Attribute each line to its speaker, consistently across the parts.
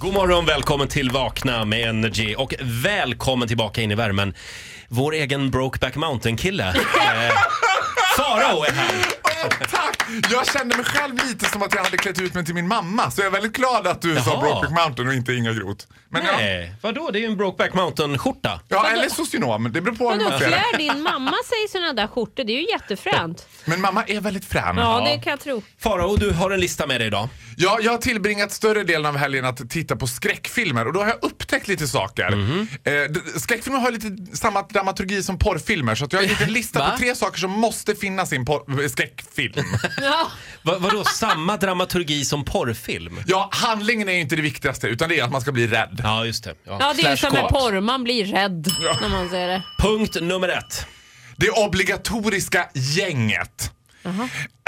Speaker 1: God morgon, välkommen till Vakna med Energy och välkommen tillbaka in i värmen. Vår egen Brokeback Mountain-kille. Eh, Farao är här.
Speaker 2: Åh, Tack! Jag kände mig själv lite som att jag hade klätt ut mig till min mamma. Så jag är väldigt glad att du
Speaker 1: Jaha.
Speaker 2: sa Brokeback Mountain och inte Inga Groth. Men ja,
Speaker 1: Nej, Eh, vadå? Det är ju en Brokeback Mountain-skjorta.
Speaker 2: ja, eller socionom. Det beror på hur
Speaker 3: Vadå,
Speaker 2: man ser det.
Speaker 3: klär din mamma sig i såna där skjortor? Det är ju jättefränt.
Speaker 2: Men mamma är väldigt frän.
Speaker 3: Ja, det kan jag tro.
Speaker 1: Farao, du har en lista med dig idag.
Speaker 2: Ja, jag har tillbringat större delen av helgen att titta på skräckfilmer och då har jag upptäckt lite saker.
Speaker 1: Mhm.
Speaker 2: Eh, d- skräckfilmer har lite samma dramaturgi som porrfilmer så att jag har gjort en lista
Speaker 1: Va?
Speaker 2: på tre saker som måste finnas i en porr- skräckfilm.
Speaker 3: Ja.
Speaker 1: Va, vadå, samma dramaturgi som porrfilm?
Speaker 2: ja, handlingen är ju inte det viktigaste utan det är att man ska bli rädd.
Speaker 1: Ja, just det. Ja.
Speaker 3: ja, det är ju
Speaker 2: Slash
Speaker 3: som med
Speaker 2: kåt.
Speaker 3: porr. Man blir rädd när man ser det.
Speaker 1: Punkt nummer ett.
Speaker 2: Det obligatoriska gänget.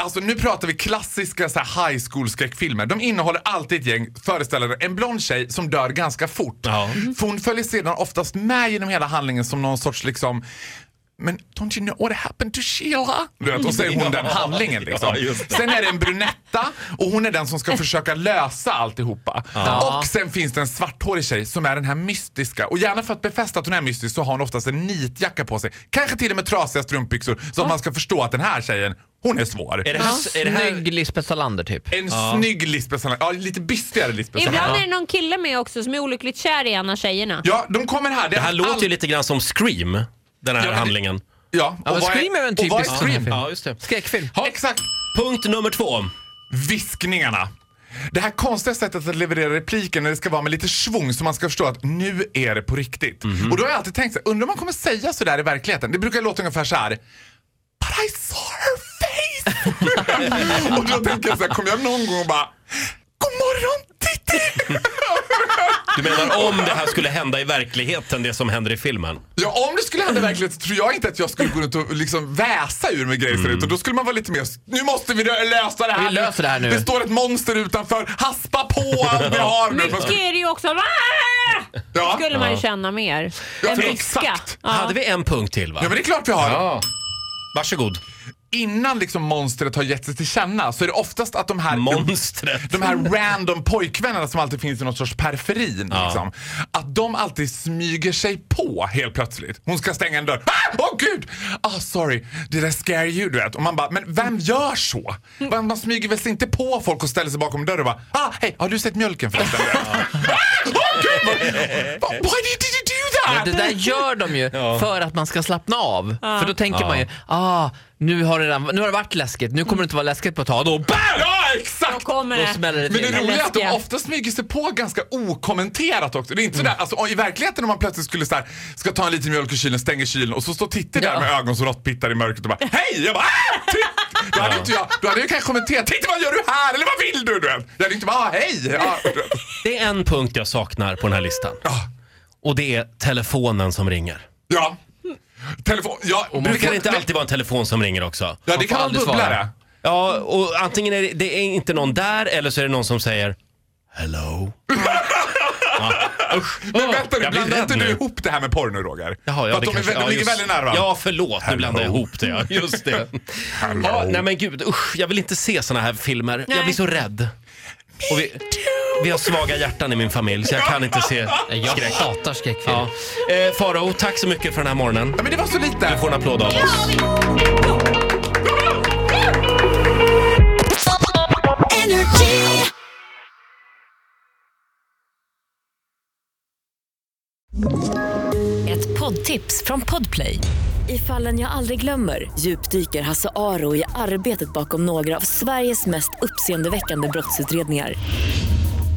Speaker 2: Alltså nu pratar vi klassiska så här, high school skräckfilmer. De innehåller alltid ett gäng föreställare. En blond tjej som dör ganska fort.
Speaker 1: Ja.
Speaker 2: För hon följer sedan oftast med genom hela handlingen som någon sorts liksom men don't you know what happened to Sheila? Du vet, och så är hon
Speaker 1: Ja.
Speaker 2: den handlingen liksom.
Speaker 1: Ja, just det.
Speaker 2: sen är det en brunetta och hon är den som ska försöka lösa alltihopa.
Speaker 3: Ja.
Speaker 2: Och sen finns det en svarthårig tjej som är den här mystiska. Och gärna för att befästa att hon är mystisk så har hon oftast en nitjacka på sig. Kanske till och med trasiga strumpbyxor så att man ska förstå att den här tjejen, hon är svår.
Speaker 1: Är det här... Alltså, Är det här
Speaker 4: Snygg Lisbeth Salander typ.
Speaker 2: En snygg Lisbeth Salander. Ja, lite bistigare Lisbeth
Speaker 3: Ibland
Speaker 2: Salander.
Speaker 3: är det någon kille med också som är olyckligt kär i en av tjejerna.
Speaker 2: Ja, de kommer här.
Speaker 1: det här låter ju lite grann som Scream, den här
Speaker 2: Ja, men-
Speaker 1: handlingen.
Speaker 2: Ja,
Speaker 4: Ja, men
Speaker 2: vad
Speaker 4: Scream är väl en
Speaker 2: och vad
Speaker 4: typisk
Speaker 2: Scream?
Speaker 4: sån här
Speaker 1: Ja, just det.
Speaker 4: Skräckfilm.
Speaker 2: Ja, exakt.
Speaker 1: Punkt nummer två.
Speaker 2: viskningarna. Det här konstiga sättet att leverera repliken när det ska vara med lite svung så man ska förstå att nu är det på riktigt.
Speaker 4: Mhm.
Speaker 2: Och då har jag alltid tänkt så här, undrar om man kommer säga så där i verkligheten. Det brukar låta ungefär så här. But I saw her face! och då tänker jag så här, kommer jag någon gång och bara God morgon Titti!
Speaker 1: Du menar om det här skulle hända i verkligheten, det som händer i filmen?
Speaker 2: ja, om det skulle hända i verkligheten så tror jag inte att jag skulle gå runt och liksom väsa ur mig grejer förut. Och då skulle man vara lite mer, nu måste vi lö- lösa det här.
Speaker 4: Mm. Vi löser det här nu.
Speaker 2: Det står ett monster utanför, haspa på allt vi har nu.
Speaker 3: Mycket är det ju också. Ah!
Speaker 2: Ja.
Speaker 3: skulle man ju känna mer.
Speaker 2: Ja,
Speaker 3: En
Speaker 2: för-
Speaker 3: viska.
Speaker 2: exakt.
Speaker 1: Hade vi en punkt till va?
Speaker 2: Ja men det är klart vi har.
Speaker 1: Varsågod.
Speaker 2: Innan liksom monstret har gett sig till känna så är det oftast att de här
Speaker 1: Monstret.
Speaker 2: de här random pojkvännerna som alltid finns i någon sorts periferin.
Speaker 1: Ja.
Speaker 2: Liksom, att de alltid smyger sig på helt plötsligt. Hon ska stänga en dörr. Ah! Åh gud! Ah sorry, did I scare you? Du vet. Och man bara, men vem gör så? Man, man smyger väl sig inte på folk och ställer sig bakom dörren och bara, ah hej, har du sett mjölken förresten? ah, åh gud! vad- vad- Why did you do that?
Speaker 4: Ja, det där gör de ju
Speaker 1: Ja.
Speaker 4: för att man ska slappna av. För då tänker man ju, ah, nu har, det redan, nu har det varit läskigt, nu kommer det inte vara läskigt på ett tag. Då, bam!
Speaker 2: Ja, exakt!
Speaker 3: Då kommer
Speaker 4: då smäller det
Speaker 2: Men det
Speaker 4: till.
Speaker 2: roliga är att de
Speaker 3: läskiga.
Speaker 2: ofta smyger sig på ganska okommenterat också. Det är inte sådär,
Speaker 1: Mm.
Speaker 2: alltså, i verkligheten om man plötsligt skulle så här, ska ta en liten mjölk ur kylen, stänger kylen och så står Titti där
Speaker 4: Ja.
Speaker 2: med ögon som råttpittar i mörkret och bara Hej! Jag bara "Ah, Titti!" Då hade inte jag, då hade jag kanske kommenterat Titti vad gör du här? Eller vad vill du? du vet. Jag hade inte bara ah, hej! Ja, du vet.
Speaker 1: Det är en punkt jag saknar på den här listan.
Speaker 2: Ja.
Speaker 1: Och det är telefonen som ringer.
Speaker 2: ja. Telefon, ja.
Speaker 1: Och det kan inte alltid vara en telefon som ringer också.
Speaker 2: Ja, det
Speaker 4: Man
Speaker 2: kan
Speaker 4: får
Speaker 2: vara en
Speaker 4: aldrig svara.
Speaker 2: bubblare.
Speaker 1: Ja, och antingen är det, det är inte någon där eller så är det någon som säger Hello. ja, usch.
Speaker 2: Men vänta nu,
Speaker 1: jag blir
Speaker 2: blandar
Speaker 1: rädd
Speaker 2: inte du
Speaker 1: nu.
Speaker 2: ihop det här med porr nu Roger?
Speaker 1: Jaha, ja,
Speaker 2: För
Speaker 1: det
Speaker 2: att de, är,
Speaker 1: kanske-
Speaker 2: väl- de ligger
Speaker 1: just-
Speaker 2: väldigt nära varandra.
Speaker 1: Ja, förlåt. Nu
Speaker 2: Hello.
Speaker 1: blandade jag ihop det. Ja, just det.
Speaker 2: Hello.
Speaker 1: ja, nej men gud, usch. Jag vill inte se såna här filmer. Jag
Speaker 3: Nej.
Speaker 1: blir så rädd. Och vi, vi har svaga hjärtan i min familj så jag kan inte se
Speaker 4: Nej, Jag
Speaker 1: skräck.
Speaker 4: hatar skräckfilm.
Speaker 1: Ja. Eh, Farao, tack så mycket för den här morgonen.
Speaker 2: Ja, men det var så lite.
Speaker 1: Du får en applåd av oss.
Speaker 5: Ett poddtips från Podplay. I fallen jag aldrig glömmer djupdyker Hasse Aro i arbetet bakom några av Sveriges mest uppseendeväckande brottsutredningar.